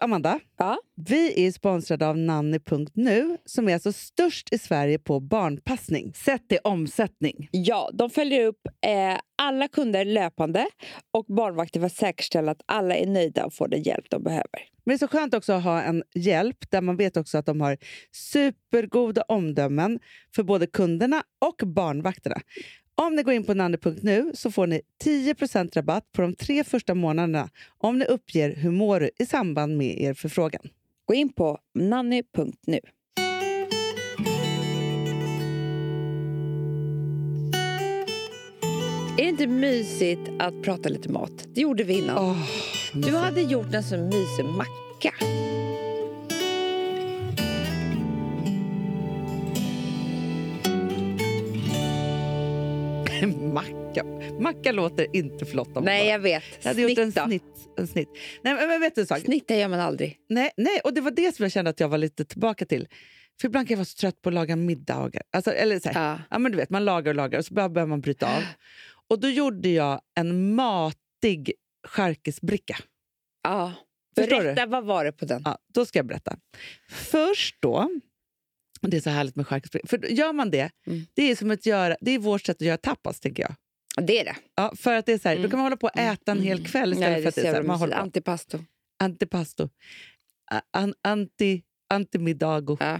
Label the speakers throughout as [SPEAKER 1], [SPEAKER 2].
[SPEAKER 1] Amanda,
[SPEAKER 2] Ja.
[SPEAKER 1] vi är sponsrade av nanny.nu som är alltså störst i Sverige på barnpassning sett till omsättning.
[SPEAKER 2] Ja, de följer upp eh, alla kunder löpande och barnvakter för att säkerställa att alla är nöjda och får den hjälp de behöver.
[SPEAKER 1] Men det är så skönt också att ha en hjälp där man vet också att de har supergoda omdömen för både kunderna och barnvakterna. Om ni går in på nanny.nu så får ni 10 rabatt på de tre första månaderna om ni uppger hur mår du i samband med er förfrågan.
[SPEAKER 2] Gå in på nanny.nu. Är det inte mysigt att prata lite mat? Det gjorde vi innan.
[SPEAKER 1] Åh,
[SPEAKER 2] Du hade gjort en sån mysig macka.
[SPEAKER 1] macka. Macka låter inte flott. Om
[SPEAKER 2] Nej,
[SPEAKER 1] jag...
[SPEAKER 2] jag vet.
[SPEAKER 1] jag hade gjort en
[SPEAKER 2] Snitt då.
[SPEAKER 1] snitt. En snitt. Nej, men- men vet du en sak?
[SPEAKER 2] Snitta gör man aldrig.
[SPEAKER 1] Nej, nej, och det var det som jag kände att jag var lite tillbaka till. För ibland kan jag vara så trött på att laga middagar. Alltså, eller så här,
[SPEAKER 2] Ja.
[SPEAKER 1] Ja, men du vet, man lagar och lagar och så bör- behöver man bryta av. Och då gjorde jag en matig charkisbricka.
[SPEAKER 2] ja.
[SPEAKER 1] Förstår
[SPEAKER 2] Berätta, vad var det på den?
[SPEAKER 1] Ja, då ska jag berätta. Först då, och det är så härligt med charkisbricka, för då gör man det,
[SPEAKER 2] Mm.
[SPEAKER 1] det, är som ett göra, det är vårt sätt att göra tapas tänker jag.
[SPEAKER 2] Det är det.
[SPEAKER 1] Ja, för att det är så här,
[SPEAKER 2] Mm.
[SPEAKER 1] då kan man hålla på och äta en hel kväll istället
[SPEAKER 2] Nej,
[SPEAKER 1] för att det är så här,
[SPEAKER 2] jävla
[SPEAKER 1] man
[SPEAKER 2] mysigt.
[SPEAKER 1] håller på.
[SPEAKER 2] Antipasto.
[SPEAKER 1] Antipasto. A- An, anti, antimiddago.
[SPEAKER 2] Ja,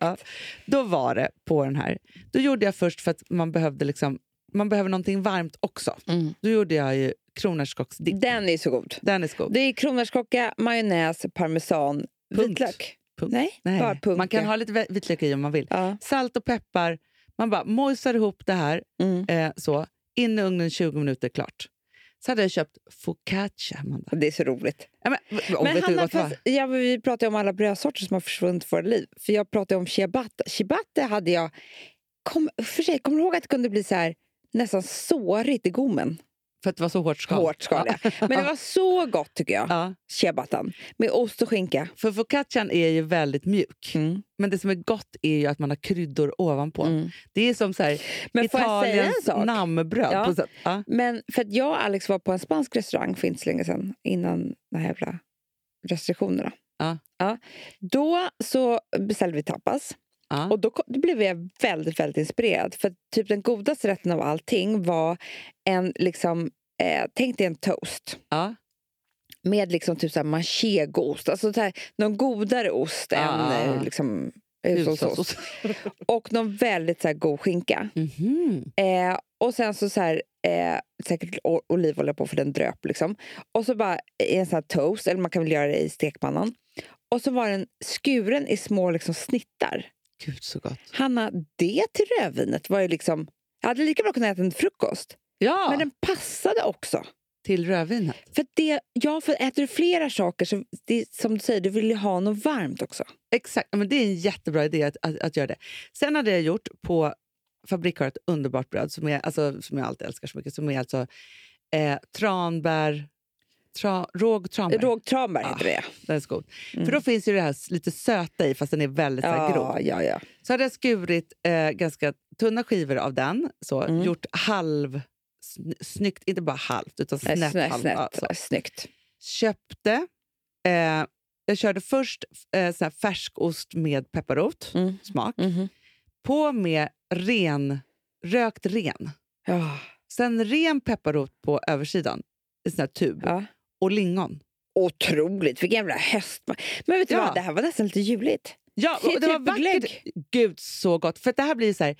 [SPEAKER 1] Ja. Då var det på den här. Då gjorde jag först för att man behövde liksom, man behöver någonting varmt också.
[SPEAKER 2] Mm.
[SPEAKER 1] Då gjorde jag ju kronärtskocksdipp.
[SPEAKER 2] Den är så god.
[SPEAKER 1] Den är skog.
[SPEAKER 2] Det är kronärtskocka, majonnäs, parmesan,
[SPEAKER 1] Punkt.
[SPEAKER 2] vitlök.
[SPEAKER 1] Punkt.
[SPEAKER 2] Nej, bara punkt.
[SPEAKER 1] man kan
[SPEAKER 2] ja.
[SPEAKER 1] ha lite vit- vitlök i om man vill.
[SPEAKER 2] Ja.
[SPEAKER 1] Salt och peppar. Man bara mojsar ihop det här.
[SPEAKER 2] Mm.
[SPEAKER 1] Eh, så. In i ugnen 20 minuter, klart. Så hade jag köpt focaccia, Amanda.
[SPEAKER 2] Det är så roligt.
[SPEAKER 1] Ja, men, och vet du vad det var?
[SPEAKER 2] fast, ja, men vi pratar ju om alla brödsorter som har försvunnit i våra liv. För jag pratade om ciabatta. Ciabatta hade jag... Kom, för sig, kommer du ihåg att det kunde bli så här nästan sårigt i gommen?
[SPEAKER 1] För att det var så hårt skal.
[SPEAKER 2] Hårt skal, ja. Men det var så gott tycker jag.
[SPEAKER 1] Ja,
[SPEAKER 2] Ciabattan. Med ost och skinka.
[SPEAKER 1] för focaccian är ju väldigt mjuk.
[SPEAKER 2] Mm.
[SPEAKER 1] Men det som är gott är ju att man har kryddor ovanpå.
[SPEAKER 2] Mm.
[SPEAKER 1] Det är som så här,
[SPEAKER 2] Men får jag säga en
[SPEAKER 1] Italiens
[SPEAKER 2] sak?
[SPEAKER 1] namnbröd.
[SPEAKER 2] Ja.
[SPEAKER 1] På sätt. Ja.
[SPEAKER 2] Men för att jag och Alex var på en spansk restaurang för inte så länge sedan, innan de här jävla restriktionerna.
[SPEAKER 1] Ja.
[SPEAKER 2] Ja. Då så beställde vi tapas.
[SPEAKER 1] Ja.
[SPEAKER 2] Och då, kom- då blev jag väldigt, väldigt inspirerad. För att typ den godaste rätten av allting var en, liksom, eh, tänk dig en toast.
[SPEAKER 1] Ja.
[SPEAKER 2] Med liksom typ så här manchegoost. Alltså så här, någon godare ost
[SPEAKER 1] Ja.
[SPEAKER 2] än eh, liksom, hushållsost. Och någon väldigt så här, god skinka.
[SPEAKER 1] Mhm.
[SPEAKER 2] Eh, och sen så, så här, eh, säkert o- olivolja på för den dröp liksom. Och så bara i en sån här toast, eller man kan väl göra det i stekpannan. Och så var den skuren i små liksom, snittar.
[SPEAKER 1] Gud, så gott.
[SPEAKER 2] Hanna, det till rödvinet var ju liksom... Jag hade lika bra kunnat äta en frukost.
[SPEAKER 1] Ja,
[SPEAKER 2] Men den passade också.
[SPEAKER 1] till rödvinet.
[SPEAKER 2] För att det, ja, för äter du flera saker, så det, som du säger, du vill ju ha något varmt också.
[SPEAKER 1] Exakt, men det är en jättebra idé att, att, att göra det. Sen hade jag gjort på Fabrik har ett underbart bröd som, är, alltså, som jag alltid älskar så mycket. Som är alltså eh, tranbär, tra, råg tranbär.
[SPEAKER 2] Råg tranbär
[SPEAKER 1] Ah,
[SPEAKER 2] heter det.
[SPEAKER 1] Den är så god.
[SPEAKER 2] Mm.
[SPEAKER 1] För då finns ju det här s- lite söta i fast den Ah, är väldigt ja. grov.
[SPEAKER 2] Ja, ja, ja.
[SPEAKER 1] Så hade jag skurit eh, ganska tunna skivor av den. Så
[SPEAKER 2] Mm.
[SPEAKER 1] gjort halv, sn- snyggt, inte bara halvt utan snett.
[SPEAKER 2] Snett, snett,
[SPEAKER 1] halv, ja, så.
[SPEAKER 2] Snyggt.
[SPEAKER 1] Köpte, eh, jag körde först eh, sån här färskost med pepparrot,
[SPEAKER 2] Mm.
[SPEAKER 1] smak.
[SPEAKER 2] Mhm.
[SPEAKER 1] På med ren, rökt ren.
[SPEAKER 2] Ja.
[SPEAKER 1] Sen ren pepparrot på översidan i sån här tub.
[SPEAKER 2] ja.
[SPEAKER 1] Och lingon.
[SPEAKER 2] Otroligt, vilken jävla höst. Men vet du
[SPEAKER 1] Ja.
[SPEAKER 2] vad, det här var nästan lite juligt.
[SPEAKER 1] Ja, och det var
[SPEAKER 2] Typ
[SPEAKER 1] vackert.
[SPEAKER 2] glögg.
[SPEAKER 1] Gud, så gott. För att det här blir så här,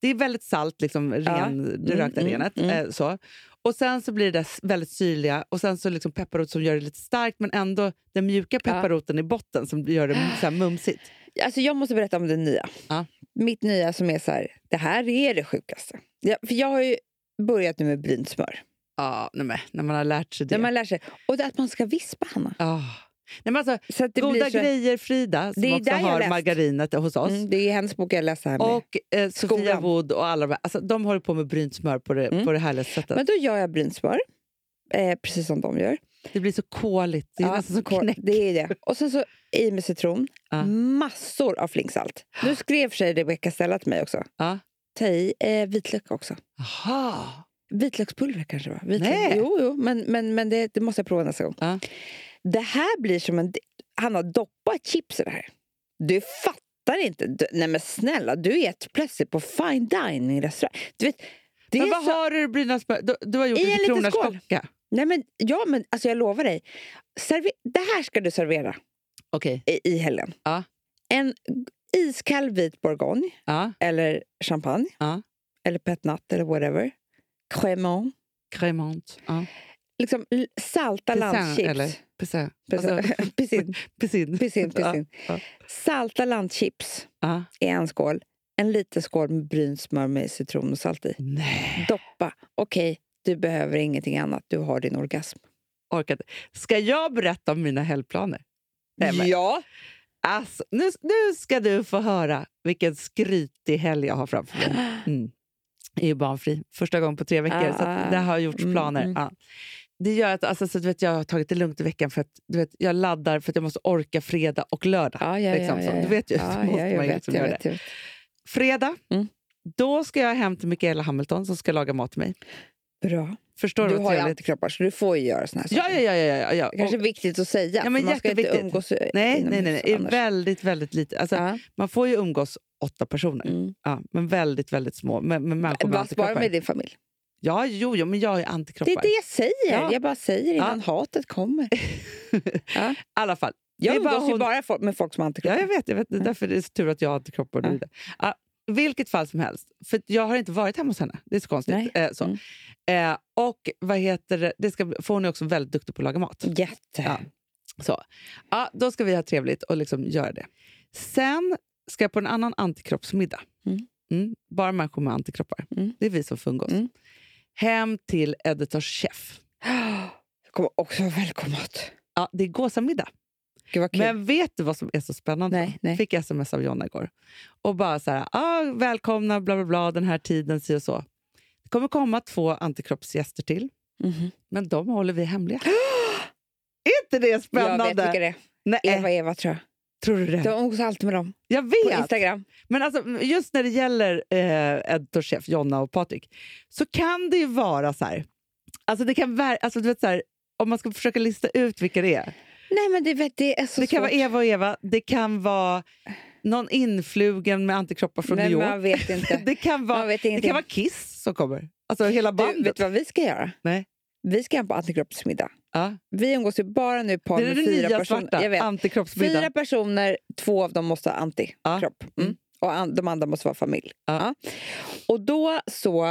[SPEAKER 1] det är väldigt salt, liksom, ren, det
[SPEAKER 2] Mm,
[SPEAKER 1] rökta
[SPEAKER 2] mm,
[SPEAKER 1] renet.
[SPEAKER 2] mm.
[SPEAKER 1] Eh, så. Och sen så blir det där s- väldigt syrliga och sen så liksom pepparrot som gör det lite starkt men ändå den mjuka pepparroten i botten som gör det så här mumsigt.
[SPEAKER 2] Alltså jag måste berätta om det nya.
[SPEAKER 1] Ja.
[SPEAKER 2] Mitt nya som är så här, det här är det sjukaste. Ja, för jag har ju börjat nu med brynt smör.
[SPEAKER 1] Ja, nej, men, när man har lärt sig det.
[SPEAKER 2] När man lär sig. Och det att man ska vispa, Hanna.
[SPEAKER 1] Ah. Nej, men alltså,
[SPEAKER 2] Så att det
[SPEAKER 1] goda
[SPEAKER 2] blir så...
[SPEAKER 1] grejer Frida, som
[SPEAKER 2] Det är
[SPEAKER 1] också
[SPEAKER 2] där jag
[SPEAKER 1] har
[SPEAKER 2] läst.
[SPEAKER 1] margarinet hos oss.
[SPEAKER 2] Mm, det är hennes bok jag läste här med.
[SPEAKER 1] Och eh, Sofia
[SPEAKER 2] Skolan.
[SPEAKER 1] Wood och alla de här, alltså, de håller på med brynt smör på det,
[SPEAKER 2] Mm.
[SPEAKER 1] på det härliga sättet.
[SPEAKER 2] Men då gör jag brynt smör. Eh, precis som de gör.
[SPEAKER 1] det blir så koligt, det är
[SPEAKER 2] Ja,
[SPEAKER 1] nästan som
[SPEAKER 2] kor-
[SPEAKER 1] knäck.
[SPEAKER 2] Det är det. Och sen så i med citron.
[SPEAKER 1] Ja.
[SPEAKER 2] Massor av flingsalt. Nu skrev för sig Rebecca Stella till mig också.
[SPEAKER 1] Ja.
[SPEAKER 2] Ta i eh, vitlök också.
[SPEAKER 1] Aha.
[SPEAKER 2] Vitlökspulver kanske det var. Vitlök.
[SPEAKER 1] Nej.
[SPEAKER 2] Jo, jo, men, men, men det, det måste jag prova nästa gång.
[SPEAKER 1] Ja.
[SPEAKER 2] Det här blir som en... han har doppat chips i det här. Du fattar inte. Du, nej men snälla, du är ett plötsligt på fine dining restaurang. Du vet, det
[SPEAKER 1] Men
[SPEAKER 2] är
[SPEAKER 1] vad
[SPEAKER 2] så...
[SPEAKER 1] har du i Brynäs- du, du har gjort
[SPEAKER 2] I en
[SPEAKER 1] en
[SPEAKER 2] liten
[SPEAKER 1] kronors
[SPEAKER 2] skål.
[SPEAKER 1] kocka.
[SPEAKER 2] Nej men, ja men alltså jag lovar dig. Serve... Det här ska du servera
[SPEAKER 1] Okej.
[SPEAKER 2] i, i helgen.
[SPEAKER 1] Ja.
[SPEAKER 2] En iskall vit bourgogne.
[SPEAKER 1] Ja.
[SPEAKER 2] eller champagne.
[SPEAKER 1] Ja.
[SPEAKER 2] Eller pet nat eller whatever. Crémant.
[SPEAKER 1] Cremant. Ja.
[SPEAKER 2] Liksom l- salta
[SPEAKER 1] Pissin,
[SPEAKER 2] landchips.
[SPEAKER 1] eller? Pissin.
[SPEAKER 2] Pissin,
[SPEAKER 1] Alltså,
[SPEAKER 2] pissin,
[SPEAKER 1] Pissin.
[SPEAKER 2] pissin,
[SPEAKER 1] Ja,
[SPEAKER 2] pissin.
[SPEAKER 1] ja.
[SPEAKER 2] Salta landchips
[SPEAKER 1] Ja.
[SPEAKER 2] i en skål. En liten skål med brynt smör med citron och salt i.
[SPEAKER 1] Nej,
[SPEAKER 2] Doppa. Okej, du behöver ingenting annat. Du har din orgasm.
[SPEAKER 1] orkar inte. Ska jag berätta om mina helgplaner? Nej, men-
[SPEAKER 2] ja!
[SPEAKER 1] Alltså, nu, nu ska du få höra vilken skrytig helg jag har framför mig. Mm. är ju barnfri. Första gången på tre veckor. så
[SPEAKER 2] Ah.
[SPEAKER 1] att det har gjorts
[SPEAKER 2] Mm,
[SPEAKER 1] planer.
[SPEAKER 2] mm.
[SPEAKER 1] Ja. Det gör att alltså, så, du vet, jag har tagit det lugnt i veckan för att du vet, jag laddar för att jag måste orka fredag och lördag.
[SPEAKER 2] Ja, ja, ja,
[SPEAKER 1] Liksom,
[SPEAKER 2] ja,
[SPEAKER 1] så.
[SPEAKER 2] ja.
[SPEAKER 1] Du vet ju,
[SPEAKER 2] Ja,
[SPEAKER 1] så
[SPEAKER 2] ja,
[SPEAKER 1] måste
[SPEAKER 2] jag
[SPEAKER 1] man ju
[SPEAKER 2] vet,
[SPEAKER 1] liksom
[SPEAKER 2] jag
[SPEAKER 1] göra
[SPEAKER 2] vet, jag vet.
[SPEAKER 1] Fredag,
[SPEAKER 2] Mm.
[SPEAKER 1] då ska jag hem till Mikaela Hamilton som ska laga mat till mig.
[SPEAKER 2] Bra.
[SPEAKER 1] Förstår du,
[SPEAKER 2] Du
[SPEAKER 1] vad
[SPEAKER 2] har ju
[SPEAKER 1] trevligt?
[SPEAKER 2] antikroppar, så du får ju göra såna här
[SPEAKER 1] Ja, ja, ja. ja, ja,
[SPEAKER 2] Det
[SPEAKER 1] ja.
[SPEAKER 2] kanske
[SPEAKER 1] Och,
[SPEAKER 2] är viktigt att säga.
[SPEAKER 1] men
[SPEAKER 2] för man ska inte
[SPEAKER 1] jätteviktigt.
[SPEAKER 2] umgås
[SPEAKER 1] nej, nej, nej.
[SPEAKER 2] inomhus
[SPEAKER 1] nej.
[SPEAKER 2] annars.
[SPEAKER 1] Väldigt, väldigt lite. Alltså,
[SPEAKER 2] Ja.
[SPEAKER 1] Man får ju umgås åtta personer,
[SPEAKER 2] Mm.
[SPEAKER 1] ja, men väldigt, väldigt små. Med, med människor med
[SPEAKER 2] Vad sparar
[SPEAKER 1] antikroppar.
[SPEAKER 2] med din familj?
[SPEAKER 1] Ja, jo, jo, men jag har ju antikroppar.
[SPEAKER 2] Det är det jag säger.
[SPEAKER 1] Ja.
[SPEAKER 2] Jag bara säger innan hatet kommer.
[SPEAKER 1] I alla fall.
[SPEAKER 2] Jag
[SPEAKER 1] det är bara
[SPEAKER 2] umgås ju
[SPEAKER 1] hon-
[SPEAKER 2] bara fo- med folk som har antikroppar.
[SPEAKER 1] Ja, jag vet. Jag vet. Det är
[SPEAKER 2] Ja.
[SPEAKER 1] därför det är så tur att jag har antikroppar. och
[SPEAKER 2] Ja.
[SPEAKER 1] du inte. Ja, vilket fall som helst, för att jag har inte varit hemma hos henne. Det är så
[SPEAKER 2] Nej.
[SPEAKER 1] konstigt. Eh, så.
[SPEAKER 2] Mm.
[SPEAKER 1] Eh, och vad heter det? det ska, bli- för hon är också väldigt duktig på att laga mat.
[SPEAKER 2] Jätte.
[SPEAKER 1] Ja. Så. Ja, då ska vi ha trevligt och liksom göra det. Sen ska jag på en annan antikroppsmiddag.
[SPEAKER 2] Mm.
[SPEAKER 1] Mm, bara människor med antikroppar.
[SPEAKER 2] Mm.
[SPEAKER 1] Det är vi som får umgås.
[SPEAKER 2] Mm.
[SPEAKER 1] Hem till Editors chef.
[SPEAKER 2] Jag kommer också vara välkommet.
[SPEAKER 1] Ja, det är gåsamiddag.
[SPEAKER 2] Gud vad kul.
[SPEAKER 1] Men vet du vad som är så spännande?
[SPEAKER 2] nej, nej.
[SPEAKER 1] Fick sms av Jonna igår. Och bara så här, ah, välkomna, bla bla bla, den här tiden, si och så. Det kommer komma två antikroppsgäster till,
[SPEAKER 2] Mhm.
[SPEAKER 1] men de håller vi hemliga. är inte det spännande?
[SPEAKER 2] Jag vet vilka det
[SPEAKER 1] Nej,
[SPEAKER 2] är. Eva, Eva tror jag.
[SPEAKER 1] tror du det?
[SPEAKER 2] Du umgås alltid med dem.
[SPEAKER 1] jag
[SPEAKER 2] På
[SPEAKER 1] vet!
[SPEAKER 2] Instagram.
[SPEAKER 1] Men alltså, just när det gäller eh, editorchef Jonna och Patrik så kan det ju vara så här, alltså det kan vara, alltså du vet så här, om man ska försöka lista ut vilka det är.
[SPEAKER 2] Nej men det, vet, det är så
[SPEAKER 1] det kan
[SPEAKER 2] svårt.
[SPEAKER 1] vara Eva och Eva, det kan vara någon influgen med antikroppar från
[SPEAKER 2] Nej,
[SPEAKER 1] New York.
[SPEAKER 2] man vet inte.
[SPEAKER 1] Det kan vara
[SPEAKER 2] man vet
[SPEAKER 1] Det
[SPEAKER 2] ingenting.
[SPEAKER 1] kan vara Kiss som kommer. Alltså hela
[SPEAKER 2] du, vet
[SPEAKER 1] bandet.
[SPEAKER 2] du vad vi ska göra?
[SPEAKER 1] Nej.
[SPEAKER 2] Vi ska hem på antikroppsmiddag.
[SPEAKER 1] Ja.
[SPEAKER 2] Vi umgås ju bara nu par
[SPEAKER 1] Det är
[SPEAKER 2] med
[SPEAKER 1] den
[SPEAKER 2] fyra
[SPEAKER 1] nya
[SPEAKER 2] personer.
[SPEAKER 1] svarta
[SPEAKER 2] Jag vet.
[SPEAKER 1] antikroppsmiddagen.
[SPEAKER 2] Fyra personer, två av dem måste ha antikropp. Mm. Och an, de andra måste vara familj.
[SPEAKER 1] Ja.
[SPEAKER 2] Ja. Och då så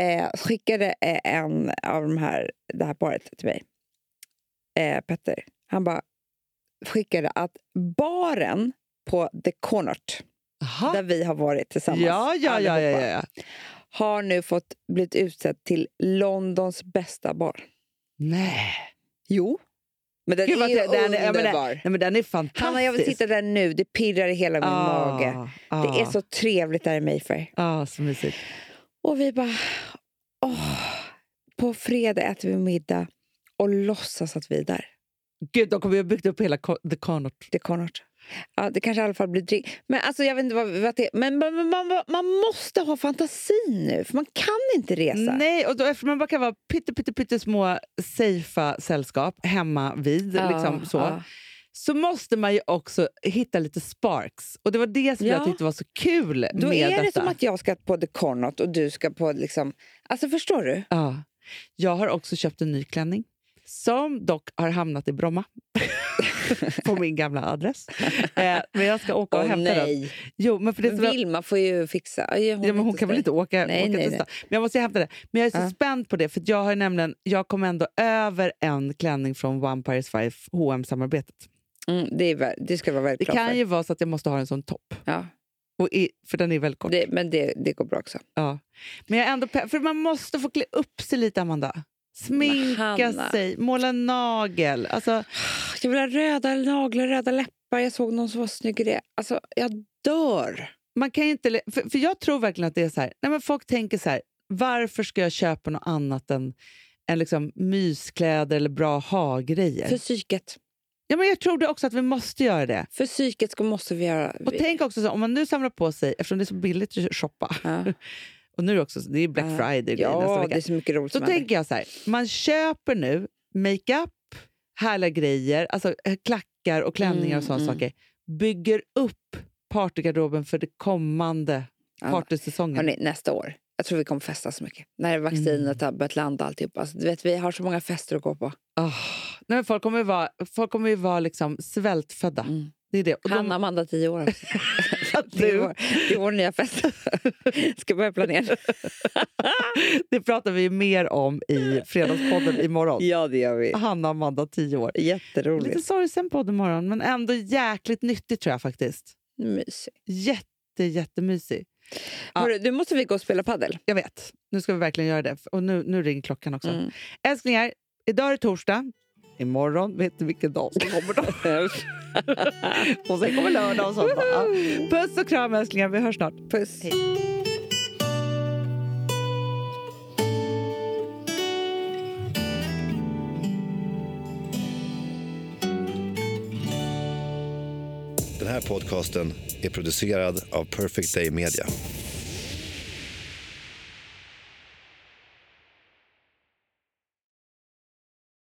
[SPEAKER 2] eh, skickade eh, en av de här, det här paret till mig, eh, Petter. Han bara skickade att baren på The Connaught,
[SPEAKER 1] Jaha.
[SPEAKER 2] där vi har varit tillsammans,
[SPEAKER 1] Ja, ja, ja, ja, ja,
[SPEAKER 2] allihopa,
[SPEAKER 1] ja.
[SPEAKER 2] har nu fått blivit utsedd till Londons bästa bar.
[SPEAKER 1] Nej.
[SPEAKER 2] Jo. Men den
[SPEAKER 1] Gud,
[SPEAKER 2] är
[SPEAKER 1] vad
[SPEAKER 2] ju
[SPEAKER 1] trevligt. Den är- ja, men den-
[SPEAKER 2] underbar.
[SPEAKER 1] Nej, men den är fantastisk.
[SPEAKER 2] Hanna, jag vill sitta där nu. Det pirrar i hela min
[SPEAKER 1] Ah,
[SPEAKER 2] mage.
[SPEAKER 1] ah,
[SPEAKER 2] Det är så trevligt där i Mayfair.
[SPEAKER 1] Ah, så mysigt.
[SPEAKER 2] Och vi bara... Åh, på fredag äter vi middag och låtsas att vi är där.
[SPEAKER 1] Gud, de kommer ju ha byggt upp hela Ko- The Connaught.
[SPEAKER 2] Det är Connaught. Ja, det kanske i alla fall blir drink. Men alltså, jag vet inte vad, vad det Men, men men man, man måste ha fantasi nu, för man kan inte resa.
[SPEAKER 1] Nej, och då, eftersom man bara kan vara pytte, pytte, pytte små safea sällskap hemma vid,
[SPEAKER 2] Ja,
[SPEAKER 1] liksom så,
[SPEAKER 2] ja.
[SPEAKER 1] så måste man ju också hitta lite sparks. Och det var det som jag
[SPEAKER 2] Ja.
[SPEAKER 1] tyckte var så kul
[SPEAKER 2] Då
[SPEAKER 1] med
[SPEAKER 2] är det
[SPEAKER 1] detta.
[SPEAKER 2] som att jag ska på The Connaught och du ska på... liksom... Alltså, förstår du?
[SPEAKER 1] Ja. Jag har också köpt en ny klänning som dock har hamnat i Bromma på min gamla adress. Eh, men jag ska åka och
[SPEAKER 2] Åh,
[SPEAKER 1] hämta den.
[SPEAKER 2] nej.
[SPEAKER 1] Jo, men för det är så
[SPEAKER 2] Vilma får ju fixa. Hon,
[SPEAKER 1] Ja, men hon kan väl inte åka,
[SPEAKER 2] Nej,
[SPEAKER 1] åka
[SPEAKER 2] nej,
[SPEAKER 1] till
[SPEAKER 2] nej.
[SPEAKER 1] stan. Men jag måste ju hämta det. Men jag är så
[SPEAKER 2] Ja.
[SPEAKER 1] spänd på det, för jag har ju nämligen, jag kom ändå över en klänning från One Paris Five hm samarbetet
[SPEAKER 2] Mm, det, är, väl- det ska vara
[SPEAKER 1] Det
[SPEAKER 2] väldigt
[SPEAKER 1] kan ju vara så att jag måste ha en sån topp,
[SPEAKER 2] Ja,
[SPEAKER 1] och i, för den är väldigt kort.
[SPEAKER 2] det, men det, det går bra också.
[SPEAKER 1] Ja. Men jag är ändå pe- för man måste få klä upp sig lite, Amanda. Sminka
[SPEAKER 2] Hanna.
[SPEAKER 1] sig, måla nagel. Alltså,
[SPEAKER 2] Jag vill ha röda naglar, röda läppar. Jag såg någon som var snygg i det. Alltså, jag dör!
[SPEAKER 1] man kan ju inte, le- för, för jag tror verkligen att det är så här, nej men folk tänker så här, varför ska jag köpa något annat än, än liksom myskläder eller bra ha-grejer?
[SPEAKER 2] För psyket.
[SPEAKER 1] Ja, men jag tror det också att vi måste göra det.
[SPEAKER 2] För psyket ska, måste vi göra...
[SPEAKER 1] Och tänk också så, om man nu samlar på sig, eftersom det är så billigt att shoppa,
[SPEAKER 2] ja,
[SPEAKER 1] och nu är det också det är Black
[SPEAKER 2] Ja.
[SPEAKER 1] Friday grejer nästa
[SPEAKER 2] ja
[SPEAKER 1] vecka.
[SPEAKER 2] det är så mycket roligt
[SPEAKER 1] Så
[SPEAKER 2] som händer.
[SPEAKER 1] tänker jag så här, man köper nu makeup, härliga grejer, alltså eh, klackar, jackor och klänningar och
[SPEAKER 2] Mm,
[SPEAKER 1] sådana
[SPEAKER 2] mm.
[SPEAKER 1] saker bygger upp partygarderoben för det kommande
[SPEAKER 2] Ja.
[SPEAKER 1] partysäsongen.
[SPEAKER 2] Hörrni, nästa år. Jag tror vi kommer festa så mycket. När vaccinet har börjat landa och alltihop. Alltså, du vet, vi har så många fester att gå på.
[SPEAKER 1] Ah, nej, men folk kommer ju vara, folk kommer ju vara liksom svältfödda.
[SPEAKER 2] Mm.
[SPEAKER 1] Det är det. Och de-
[SPEAKER 2] Hanna Amanda, tio år. också. det, är
[SPEAKER 1] du.
[SPEAKER 2] vår, det är vår nya fest. Ska börja planera.
[SPEAKER 1] det pratar vi ju mer om i Fredagspodden imorgon.
[SPEAKER 2] Ja, det gör vi.
[SPEAKER 1] Hanna och Amanda, 10 år. Lite
[SPEAKER 2] Jätteroligt.
[SPEAKER 1] sorgsen podd imorgon, men ändå jäkligt nyttig tror jag faktiskt.
[SPEAKER 2] Mysigt.
[SPEAKER 1] Jätte, jättemysig. Ja.
[SPEAKER 2] Hörru, nu måste vi gå och spela padel.
[SPEAKER 1] Jag vet, nu ska vi verkligen göra det. Och nu, nu ringer klockan också.
[SPEAKER 2] Mm.
[SPEAKER 1] Älsklingar, idag är det torsdag. Imorgon vet du vilken dag som kommer då. och sen kommer lördag och söndag. Ja. Puss och kram älsklingar, vi hörs snart.
[SPEAKER 2] Puss.
[SPEAKER 1] Hej.
[SPEAKER 3] Den här podcasten är producerad av Perfect Day Media.